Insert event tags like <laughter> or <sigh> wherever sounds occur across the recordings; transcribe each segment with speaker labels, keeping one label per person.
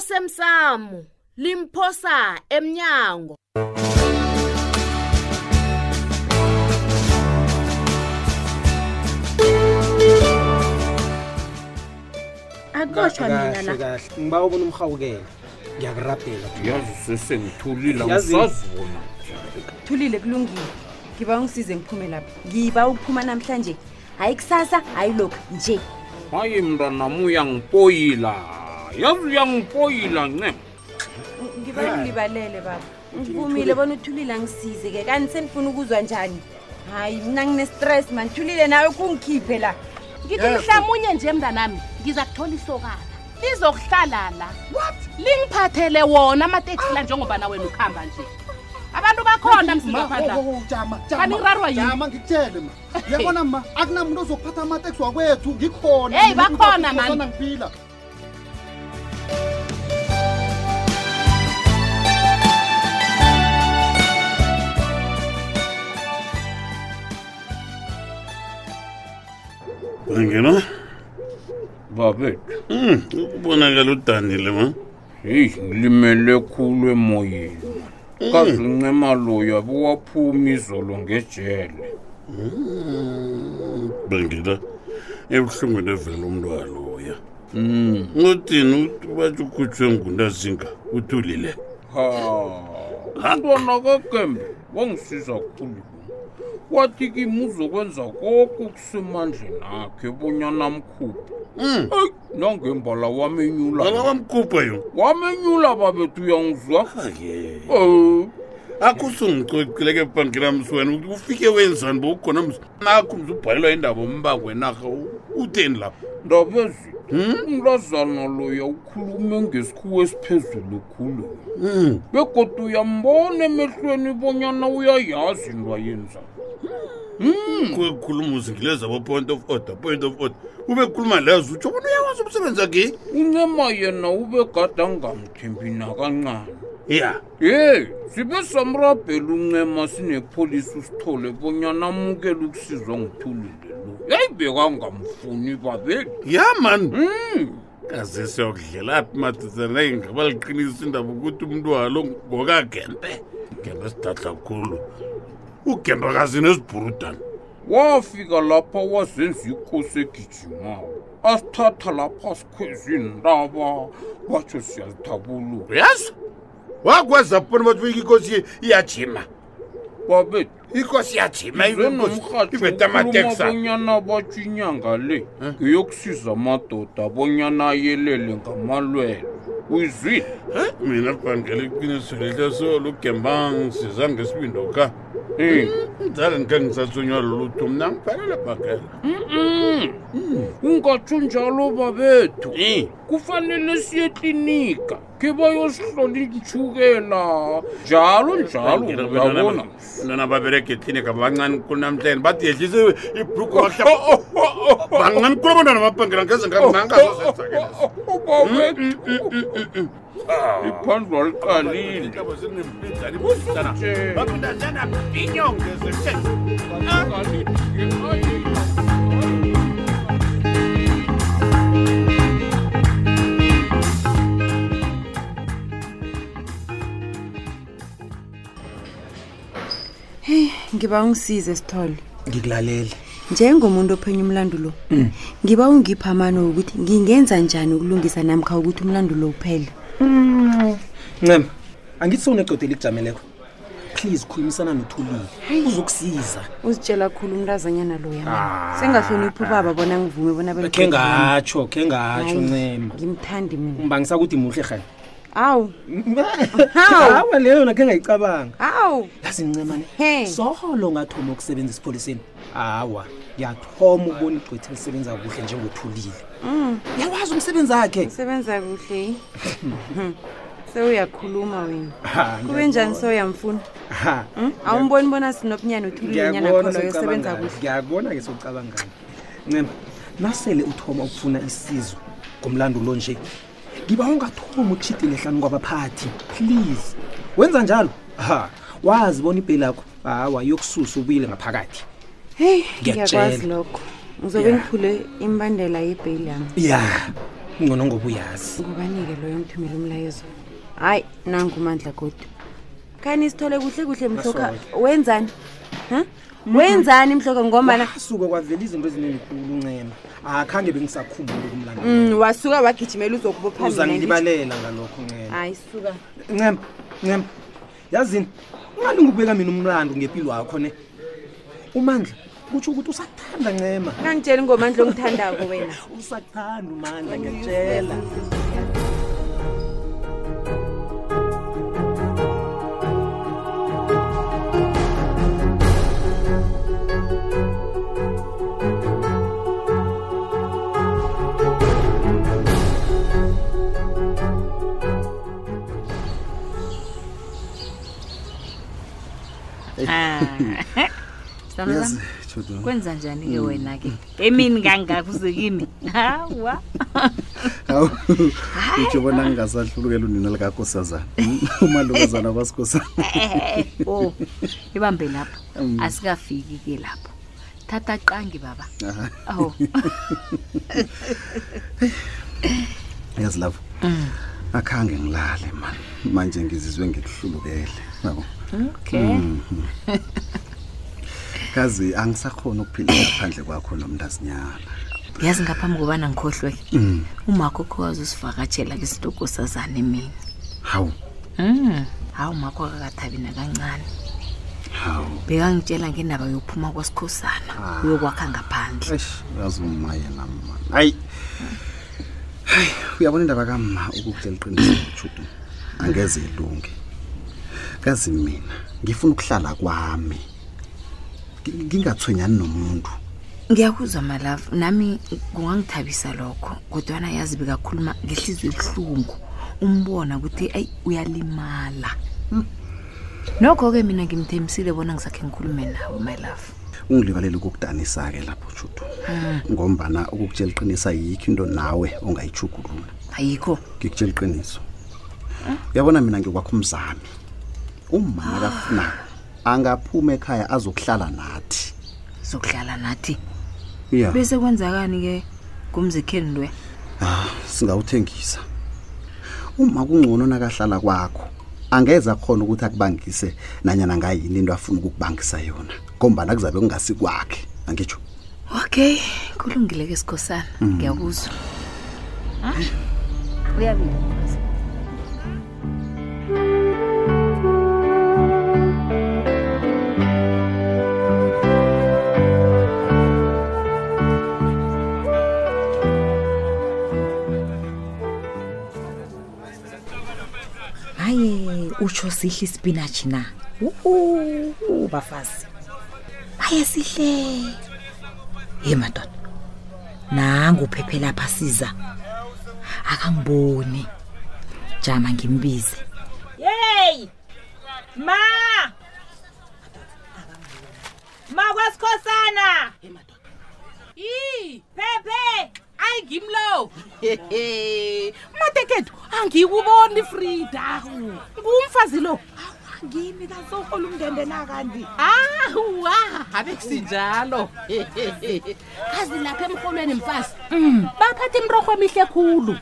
Speaker 1: osemsamo limphosa emnyango
Speaker 2: akotshwa mina la
Speaker 3: kahle ngiba ubona umhawukela ngiyakurabhela
Speaker 4: yazi sesengithulile
Speaker 3: Yazi-
Speaker 4: angisazona
Speaker 2: thulile kulungile ngiba ungisize ngiphume lapha ngiba ukuphuma namhlanje hayi kusasa hayi lokhu nje
Speaker 4: hayi mntanam uyangipoyila yazi uyangipoyila ncem
Speaker 2: ngiba ngilibalele baba ngivumile bona uthulile angisize ke kanti senifuna ukuzwa njani hayi mina ngine-stress mani thulile nawe kungikhiphe la
Speaker 5: ngithi mhlamunye nje mntanami ngiza kuthola isokana lizokuhlala la lingiphathele wona amateksi la njengoba na wena ukuhamba nje abantu bakhona
Speaker 6: oh,
Speaker 5: msingaphandla Kanirarwa yini?
Speaker 6: ngikutshele ma uyabona ma akunamuntu ozokuphatha amateksi wakwethu ngikhona
Speaker 5: Hey,
Speaker 6: Mina
Speaker 5: bakhona,
Speaker 6: ngikhona,
Speaker 5: man.
Speaker 6: ngiphila
Speaker 7: angena
Speaker 4: babethu
Speaker 7: Hmm, ukubonakala udanile ma
Speaker 4: heyi ngilimele khulu emoyeni man. kazi uncema loya bewaphuma izolo ngejele
Speaker 7: Hmm, bengila ebuhlungwini evela umntwaloya
Speaker 4: Mm.
Speaker 7: uthini batsho ukhutshwe ngunazinga uthulile
Speaker 4: ha umntwana kagembe wangisiza khulu wathi kimi uzokwenza koke okusemandleni akhe bonyana mkhuphi
Speaker 7: Hmm,
Speaker 4: eyi nangembala wamenyula
Speaker 7: bala wamkhupha yo
Speaker 4: wamenyula babethu uyangizwa
Speaker 7: Ake.
Speaker 4: Eh,
Speaker 7: akho usungicocileke ebhankilamsi wena ukuthi ufike wenzani bowukhona mzi nakho mzi ubhalelwa indaba mbakwenarha utheni Hmm? lapha
Speaker 4: ndaba ezi umlazana loya ukhulume ngesikhuwa esiphezulu khulu
Speaker 7: Hmm.
Speaker 4: begodwa uyambona emehlweni bonyana uyayazi into ayenza
Speaker 7: kukhuluma uzingileza bo-point of order point of order ube khuluma lezo utsho bona uyawazi umsebenzi akhe
Speaker 4: uncema yena ube gada ngamthembi nakancane
Speaker 7: ya
Speaker 4: ye sibe samrabhela uncema sinepholisi usithole bonyana amukele ukusizwa nguthulile lo yeyi bekangamfuni babeli
Speaker 7: ya mani kaze siyokudlelaphi madodana ingaba liqinisa indaba ukuthi umntwalo ngokagembe gembe sidadla kkhulu ugembe kazinesibhurudana
Speaker 4: wafika lapha wazenza ikosi egijimayo asithatha lapha sikhweza indaba batsho siyazithabulula
Speaker 7: uyazi wakwazi bona bathi buyika ikosi iyajima
Speaker 4: babethu
Speaker 7: ikosi iyajima iveta amatexa
Speaker 4: zenomrhatshobonyana batsho inyanga le ngeyokusiza amadoda abonyana ayelele ngamalwele uyizwile
Speaker 7: mina bhangela iqiniso lihle solo ugemba ngisiza ngesibindo ka
Speaker 4: Eh,
Speaker 7: mdala ndikhe ngisathonywa lolutho mna ngiphelela bhangela
Speaker 4: ungatsho njalo babethu
Speaker 7: Eh.
Speaker 4: kufanele siye eklinika khe bayosihlola intshukela njalo njalo uyabona
Speaker 7: ntwana babereke eklinika bancane kulu namhlanje bathi yehlise ibruku
Speaker 4: oh,
Speaker 7: bancane kulu abantwana babhangela ngeze
Speaker 4: oh,
Speaker 7: ngangangazozenzakelaiphadlwa
Speaker 4: iphandlwa liqalile
Speaker 2: ngiba ungisize sithole
Speaker 3: ngikulalele
Speaker 2: njengomuntu ophenya umlando lo ngiba ungipha amano wokuthi ngingenza njani ukulungisa namkha ukuthi umlando lo uphele
Speaker 3: ncema angithi sewunecodo elikujameleko please khulumisana nothulile uzokusiza
Speaker 2: uzitshela khulu umntazanyana loya sengahloniphi ubaba bona ngivume bona
Speaker 3: khe
Speaker 2: bengicede bona.
Speaker 3: ngatsho khe
Speaker 2: Hayi,
Speaker 3: ngatsho ncema
Speaker 2: ngimthandi mina
Speaker 3: mbangisakuthi muhle hanye
Speaker 2: awu
Speaker 3: <laughs> awa leyo yona khe ngayicabanga
Speaker 2: awu
Speaker 3: yazi ncemane
Speaker 2: He.
Speaker 3: solo ngathoma ukusebenza esipholiseni awa ngiyathoma ukubona igqwethi elisebenza kuhle njengothulile
Speaker 2: Mm.
Speaker 3: uyawazi umsebenzi akhe
Speaker 2: sebenza kuhle eh? <laughs> sewuyakhuluma wena
Speaker 3: Ha,
Speaker 2: kube njani soyamfuna
Speaker 3: Ha,
Speaker 2: awumboni bona sinobunyana uthulunyana
Speaker 3: ngiyakubona
Speaker 2: khona yosebenza
Speaker 3: sewucabangani.
Speaker 2: kuhle
Speaker 3: ngiyakubona-ke sowucabangani ncema nasele uthoma ukufuna isizo ngomlando lo nje ngiba ungathomi ukushidile hlanu kwabaphathi please wenza njalo ha wazi bona ipeli yakho hawa yokususa ubuyile ngaphakathi
Speaker 2: heyi
Speaker 3: Ngiyakutjela.
Speaker 2: ngiyakwazi lokho ngizobe
Speaker 3: Ya.
Speaker 2: ngiphule imbandela yebheyili yami
Speaker 3: ya ngcono ngoba uyazi
Speaker 2: ngobanike loyo ngithumela umlayezo hayi nangumandla kodwa khani sithole kuhle kuhle mhloka Mm-hmm. wenzani ha wenzani mhloka ngombana
Speaker 3: asuke kwavela izinto eziningi khulu uncema akhange bengisakhumbuli kumlandela
Speaker 2: Mm, wasuka wagijimela uzokubopha mina
Speaker 3: uzangilibalela ngalokho ncema
Speaker 2: hayi suka
Speaker 3: ncema ncema yazini ungalingi ukubeka mina umlando ngempilo wakho ne umandla kutsho ukuthi usakuthanda ncema
Speaker 2: kangitsheli ngomandla ongithandako wena
Speaker 3: usakuthanda umandla ngiyatshela Ah.
Speaker 8: Yes, kwenza njani-ke wena-ke Mm. <laughs> emini kangaka uze kimi hawa
Speaker 9: hawu utsho bona ngingasahlulukela unina likakosazana <laughs> umalukazana kwasikosana
Speaker 8: o ibambe lapho asikafiki-ke lapho thatha qangi baba aw
Speaker 9: yazi lapho
Speaker 5: Mm.
Speaker 9: akhange ngilale mani manje ngizizwe ngikuhlulukele yabo Mm-hmm.
Speaker 8: okay
Speaker 9: kazi angisakhona ukuphila ngaphandle kwakho nomntazinyana
Speaker 8: yazi ngaphambi kobana ngikhohlweke umakho khowazi usivakatshela kwisitokosazane mina
Speaker 9: hawu
Speaker 8: Mm, hawu makho akakathabi nakancane
Speaker 9: hawu
Speaker 8: bekangitshela ngendaba yokuphuma kwasikhosana uyokwakha ngaphandle
Speaker 9: eish yazi uma yena mani hayi hayi uyabona indaba kama ukukutshela iqiniso judu angeze ilunge kazi mina ngifuna ukuhlala kwami Ngi- ngingathonyani nomuntu
Speaker 8: ngiyakuzwa malava nami kungangithabisa lokho kodwana yazi bekakhuluma ngehliziyo ebuhlungu umbona ukuthi ayi uyalimala nokho-ke mina ngimthembisile bona ngisakhe ngikhulume nawe my love
Speaker 9: ungilibalele ukukudanisa-ke lapho judu ngombana ukukutshela iqiniso ayikho into nawe ongayijugulula
Speaker 8: ayikho
Speaker 9: ngikutshela iqiniso uyabona mina ngikwakho umzami uma nakafunako angaphuma ekhaya azokuhlala nathi
Speaker 8: zokudlala nathi
Speaker 9: ya
Speaker 8: bese kwenzakani-ke kumzikheni lwe
Speaker 9: singawuthengisa uma kungcono nakahlala kwakho angeza khona ukuthi akubangise nanyana ngayini into afuna ukukubangisa yona ngombana kuzabe kungasikwakhe angitsho
Speaker 8: okay kulungile-ke sikhosana ngiyakuzwa uyabili
Speaker 10: hayi utsho sihle isipinatshi na uhu bafazi haye sihle ye madoda nangu uphephe lapha siza akangiboni jama ngimbize
Speaker 2: yeyi ma ma kwasikhosana
Speaker 5: yi phephe ayi ngimlo mateketu angikuboni frida ngumfazi lo Awa, ngimi kasohola umndende nakandi awa abe kusinjalo kazi lapha emholweni mfazi Mm. baphatha imrorho emihle khulu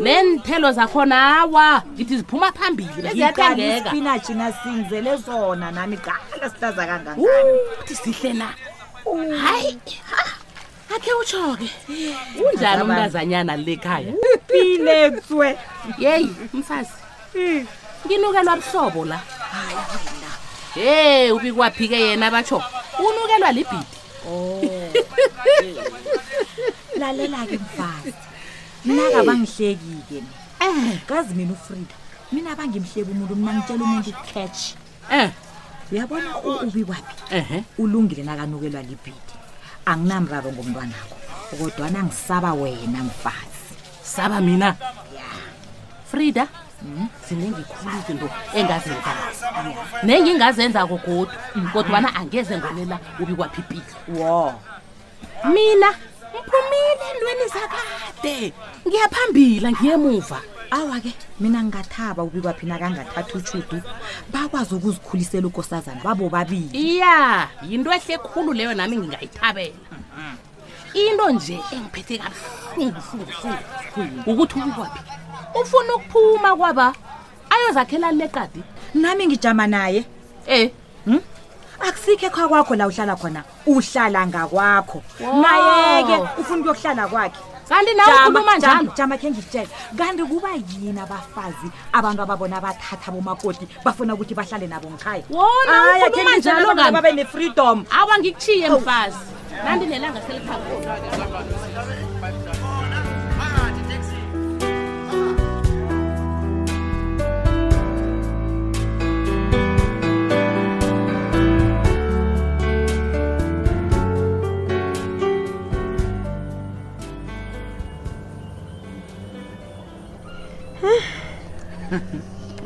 Speaker 5: neenthelo zakhona awa ngithi ziphuma phambili beziyathengeka
Speaker 10: isipinatshi nasingizele sona nami qala sihlaza kanganga
Speaker 5: uthi sihle na hayi ha, akhe utsho-ke unjani umntazanyana le khaya
Speaker 10: piletswe
Speaker 5: yeyi mfazi nginukelwa buhlobo la he ubikwaphi-ke yena batsho unukelwa libhidi
Speaker 10: lalela-ke mfazi mina kabangihleki-ke
Speaker 8: Eh.
Speaker 10: mina kazi mina ufrida mina abangimhleki umuntu mina ngitshela umuntu catch
Speaker 5: um
Speaker 10: uyabona u- ubi kwaphi
Speaker 5: ehe
Speaker 10: ulungile nakanukelwa libhidi anginamraro ngomntwanakho kodwana ngisaba wena mfazi
Speaker 5: saba mina frida
Speaker 10: Hmm?
Speaker 5: zinengikhulu izinto engazenzayo nengingazenzako kodwa kodwana angeze ngolela ubikwaphi ipilo
Speaker 10: wo
Speaker 5: mina ngiphumile endweni zakade ngiyaphambila ngiyemuva
Speaker 10: awa-ke mina ngingathaba ubi kwaphi nakangathatha utshudu bakwazi ukuzikhulisela ukosazana babo babili
Speaker 5: iya yinto ehle khulu leyo nami ngingayithabela into nje engiphethe kabuhlunguhlunguhlungu ukuthi ukwaphi ufuna ukuphuma kwaba ayozakhela leqadi
Speaker 10: nami ngijama naye
Speaker 5: eh
Speaker 10: hm? akusikho ekha kwakho la uhlala khona uhlala ngakwakho naye-ke ufuna ukuyokuhlala kwakhe
Speaker 5: kanti nawe
Speaker 10: Jama,
Speaker 5: ukhuluma
Speaker 10: jama,
Speaker 5: njalo?
Speaker 10: jama khe ngikutshele kanti kuba yini abafazi abantu ababona bathatha bomakoti bafuna ukuthi bahlale nabo ngikhaya
Speaker 5: wona
Speaker 10: Hayi, akhe
Speaker 5: ukhuluma
Speaker 10: ngitjele
Speaker 5: njalo kami.
Speaker 10: abantu babe ne-freedom
Speaker 5: awa ngikuchiye mfazi nandinelanga seliphakona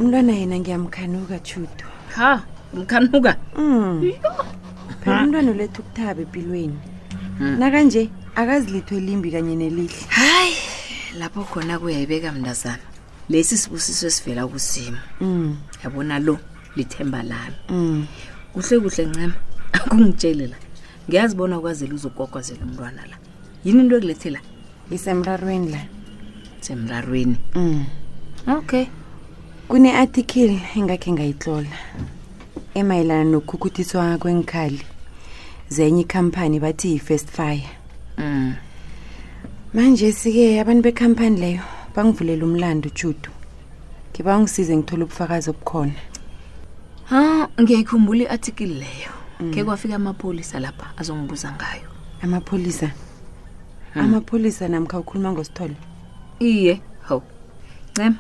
Speaker 2: umntwana yena ngiyamkhanuka chudo
Speaker 5: ha mkhanuka
Speaker 2: um phela umntwana letha ukuthaba empilweni nakanje akazilithwe limbi kanye nelihle
Speaker 8: hayi lapho khona kuyayibeka mntazana lesi sibusiso esivela kusimo
Speaker 2: um
Speaker 8: yabona lo lithemba lami
Speaker 2: um
Speaker 8: kuhle kuhle ncema <laughs> akungitshele la ngiyazi bona ukwazela uzokwakwazela umntwana la yini into ekulethe la
Speaker 2: isemrarweni la
Speaker 8: semrarweni
Speaker 2: um
Speaker 8: okay
Speaker 2: kune-athikili engakhe ngayitlola emayelana nokukhukuthiswa kwenkhali zenye ikhampani bathi yi-first fire
Speaker 8: mm.
Speaker 2: manje sike abantu bekhampani leyo bangivulela umlando chudu ngiba ungisize ngithole ubufakazi obukhona
Speaker 8: ha ngiyayikhumbula i-athikili leyo ke kwafika amapholisa lapha azongibuza ngayo
Speaker 2: amapholisa Hmm. amapholisa namkha ukhuluma ngosithole
Speaker 8: iye hawu ncema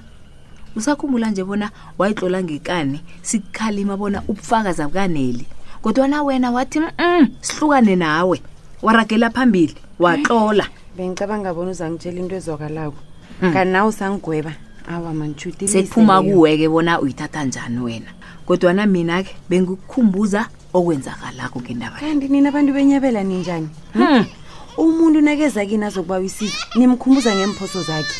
Speaker 8: usakhumbula nje bona wayitlola ngekani sikukhalima bona ubufakazi abukaneli kodwana wena wathi mm sihlukane nawe waragela phambili waxola
Speaker 2: bengicabanga bona uzangitshela into ezwakalako kanti nawe usangigweba awa manchudu
Speaker 8: sekuphuma kuweke bona uyithatha njani wena kodwana mina-ke bengikukhumbuza okwenzakalako ngendaba le.
Speaker 2: kanti nina abantu benyabela ninjani
Speaker 8: Hmm.
Speaker 2: umuntu nakeza kini azokuba wisizo nimkhumbuza ngemphoso zakhe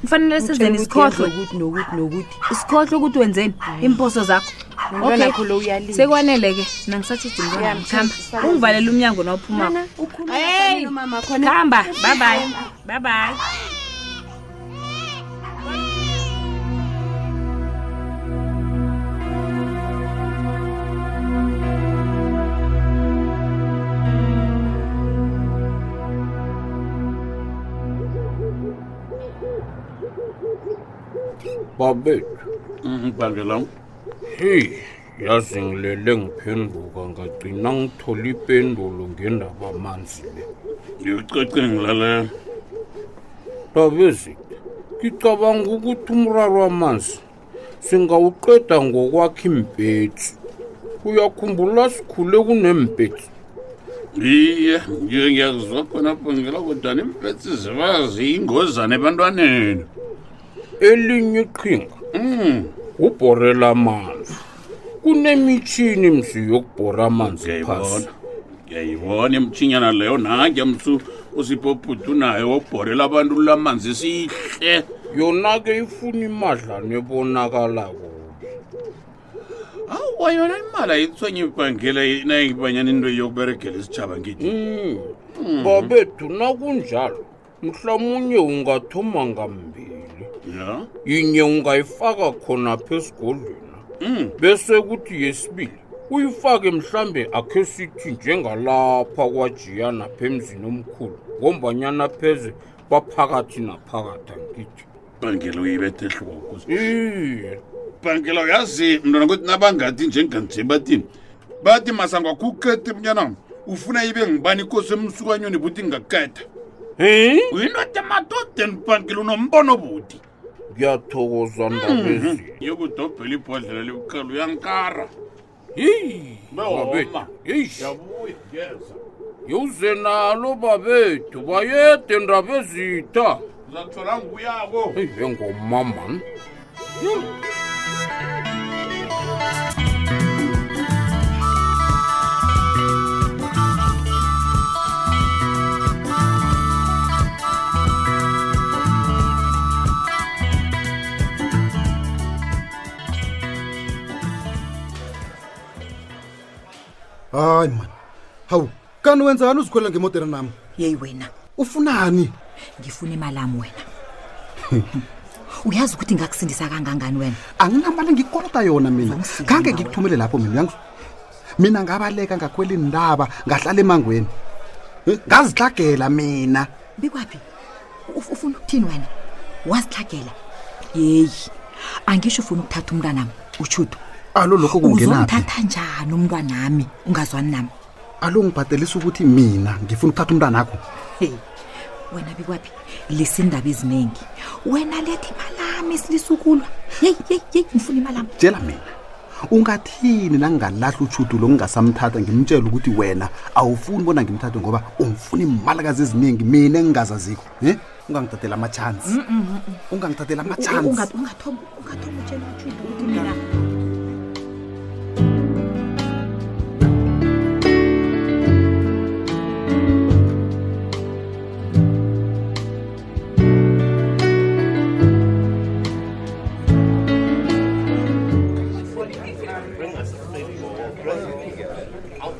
Speaker 8: kufanele senzeni isikhohlwe
Speaker 2: ukuthi nokuthi nokuthi
Speaker 8: isikhohlwe ukuthi wenzeni imposo zakho
Speaker 2: Nomntwana khulu uyalila.
Speaker 8: sekwanele-ke nangisathidi mntwanamkhamba ungivalela umnyango nawuphumako
Speaker 2: hey
Speaker 8: khamba babayi babayi
Speaker 4: babethu
Speaker 7: Mm, ngibangela
Speaker 4: heyi yazi ngilele ngiphenduka ngagcina ngithole ipendulo ngendaba amanzi le
Speaker 7: ngikucece ngilalela
Speaker 4: dabezitha ngicabanga ukuthi umraro wamanzi singawuqeda ngokwakha impetsi uyakhumbula sikhule kunempetsi
Speaker 7: iye ngiye ngiyakuzwa khonapho ngela kodwana impetsi ziba ziyingozane ebantwaneni
Speaker 4: elinye iqhinga Mm,
Speaker 7: um
Speaker 4: ubhorela amanzi kunemitshini msi yokubhora amanzi phasi
Speaker 7: ngiyayibona ngiyayibona imtshinyana leyo nanke msu usiphophuthu nayo wobhorela abantu lamanzi sihle
Speaker 4: yona ke ifuna imadlana ebonakalako
Speaker 7: awa yona imali ayithonye ibhangele nayengibanyana into yokuberegela isitshaba ngithi
Speaker 4: Mm. babethu nakunjalo mhlawumunye ungathoma ngambili
Speaker 7: ya
Speaker 4: yinye ungayifaka khona phesigodlweni
Speaker 7: um
Speaker 4: bese kuthi yesibili uyifake mhlambe akhe sithi njengalapha kwajiya napha emzini omkhulu ngombanyana pheze baphakathi naphakathi angithi
Speaker 7: bhangela uyibethe ehloko
Speaker 4: iye
Speaker 7: bhangela uyazi mntwana kuthi nabangathi njenganje bathini bathi masangwakhukete mnyanam ufuna ibe ngibani ikosi emsukanyweni buthi ngaketha
Speaker 4: em
Speaker 7: uyindoda emadodeni bhangela unombono buthi
Speaker 4: ngiyathokoza ndabezi
Speaker 7: Mhm. yokudobhela ibhodlela lebukhalo uyankara
Speaker 4: yeyi
Speaker 7: Bewoma.
Speaker 4: yeyi
Speaker 7: yabuya ngeza
Speaker 4: yewuze nalo babethu bayede ndaba ezitha
Speaker 7: uzathola nguyako
Speaker 4: eyi engoma mani
Speaker 6: hayi mani hawu kanti wenzani uzikhwelela ngemodera nami
Speaker 10: yeyi wena
Speaker 9: ufunani
Speaker 10: ngifuna imalami wena uyazi ukuthi ngakusindisa kangangani wena
Speaker 9: anginamali ngikolota yona mina khange ngikuthumele lapho mina uyangiz- mina ngabaleka ngakhwela indaba ngahlala emangweni Eh, ngazihlagela mina
Speaker 10: bikwaphi Uf- ufuna ukuthini wena wazihlagela yeyi angisho ufuna ukuthatha umntwanami utshudo
Speaker 9: alo lokho kungenaphi
Speaker 10: uzomthatha njani umntwanami ungazwani nami
Speaker 9: alo ngibhadelisa ukuthi mina ngifuna ukuthatha umntwana akho
Speaker 10: heyi wena bikwaphi lisa iindaba eziningi wena letha imalami silisukulwa yeyi yeyi yeyi ngifuna imalami
Speaker 9: tshela mina ungathini nangingalahla utshudulo ngingasamthatha ngimtshela ukuthi wena awufuni bona ngimthathe ngoba ungifuna imalakazi eziningi mina engingazazikho um ungangithathela amatshansi ungangithathela amatshansi
Speaker 10: ungathoma ungathoma utshela utshudo ukuthi mina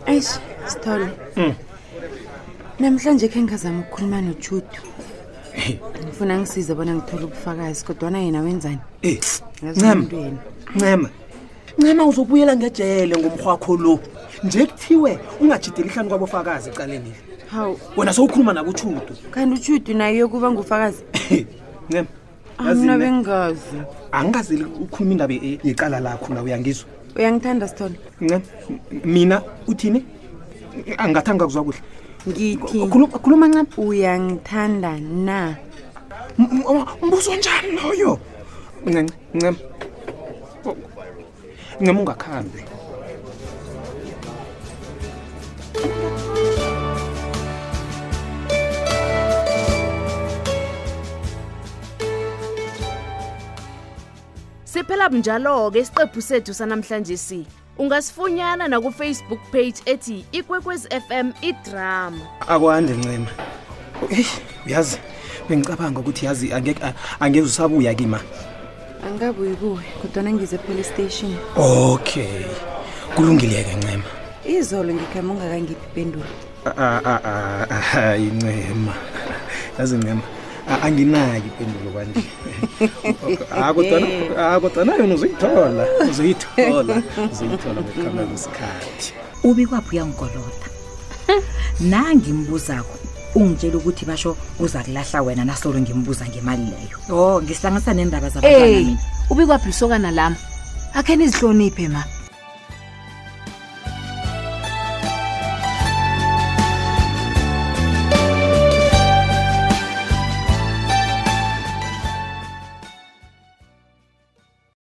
Speaker 2: eish sithole namhlanje khe ngingazama ukukhuluma nojudu ngifuna ngisize bona ngithole ubufakazi kodwana yena wenzani
Speaker 3: Eh,
Speaker 2: Yazi
Speaker 3: Ncema.
Speaker 2: umuntu yena.
Speaker 3: ncema ncema uzobuyela ngejele ngomrhwakho lo nje kuthiwe ungajideli hlanu kwabofakazi ecaleni
Speaker 2: hawu
Speaker 3: wena sowukhuluma nakutshudu
Speaker 2: kanti ujudu naye yokuba ngufakazi
Speaker 3: <laughs> ncema
Speaker 2: amna bengazi
Speaker 3: angingazeli ukhuluma indaba ye- yecala lakho la uyangizwa
Speaker 2: uyangithanda sithole
Speaker 3: ncema mina uthini angingathanga kuzwa kuhle
Speaker 2: ngithi
Speaker 3: khuluma ncema
Speaker 2: uyangithanda na
Speaker 3: mbuzo njani loyo ncema ncema Oh, ncema ungakhambi
Speaker 5: siphela bunjalo-ke isiqephu sethu sanamhlanje si ungasifunyana nakufacebook page ethi ikwekwezi fm idrama
Speaker 3: akwande ncema eyi uyazi bengicabanga ukuthi yazi angeke- a- angeze usabuya kima
Speaker 2: angabuyi kuwe kodwana ngize epolice station
Speaker 3: okay kulungileke ncema
Speaker 2: izolo ngikhama ungakangiphi pendulo
Speaker 3: A- a- a- a- a- hayi ncema yazi ncema a- anginaki ipendulo kwanje Ah, kodwana- ah, kodwana yona uzoyithola uzoyithola uzoyithola ngokuhamba kwesikhathi
Speaker 10: ubikwaphi uyangikoloda nangimbuzakho ungitshela ukuthi basho uza kulahla wena nasolo ngimbuza ngemali leyo Oh, o ngihlanganisa neendaba
Speaker 8: Hey,
Speaker 10: zabantu
Speaker 8: ubikwaphi lisokana lami akhe nizihloniphe ma